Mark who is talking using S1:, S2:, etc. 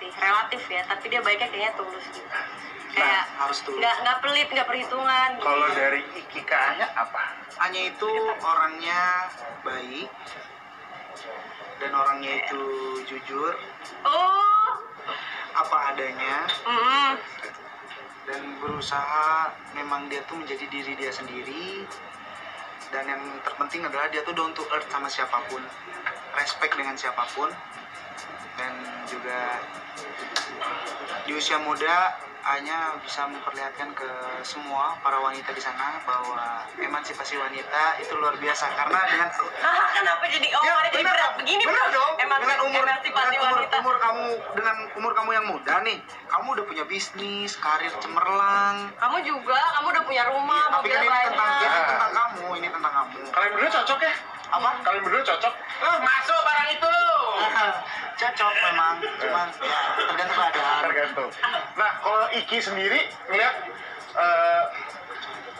S1: sih relatif ya tapi dia baiknya kayaknya tulus gitu kayak
S2: Nah, harus tulus.
S1: nggak nggak pelit nggak perhitungan gitu.
S3: Kalau dari Ikika-nya apa?
S2: Hanya itu orangnya baik dan orangnya itu jujur
S1: oh
S2: apa adanya
S1: mm-mm.
S2: dan berusaha memang dia tuh menjadi diri dia sendiri dan yang terpenting adalah dia tuh down to earth sama siapapun respect dengan siapapun dan juga di usia muda hanya bisa memperlihatkan ke semua para wanita di sana bahwa emansipasi wanita itu luar biasa karena dengan
S1: Ah, kenapa jadi oh ada jadi berat
S2: dong.
S1: begini
S2: Ya, benar
S1: bro
S2: dong
S1: emang
S2: dengan umur
S1: emansipasi
S2: dengan umur,
S1: wanita
S2: umur kamu dengan umur kamu yang muda nih kamu udah punya bisnis karir cemerlang
S1: kamu juga kamu udah punya rumah
S2: Iya, tapi
S1: mobil
S2: kan ini
S1: Ah, banyak
S2: tentang ini tentang kamu ini tentang kamu
S3: Kalian berdua cocok ya?
S2: apa
S3: Kalian berdua cocok? Eh, masuk barang itu!
S2: cocok memang cuman ya tergantung keadaan
S3: Tergantung. Nah, kalau Iki sendiri ngeliat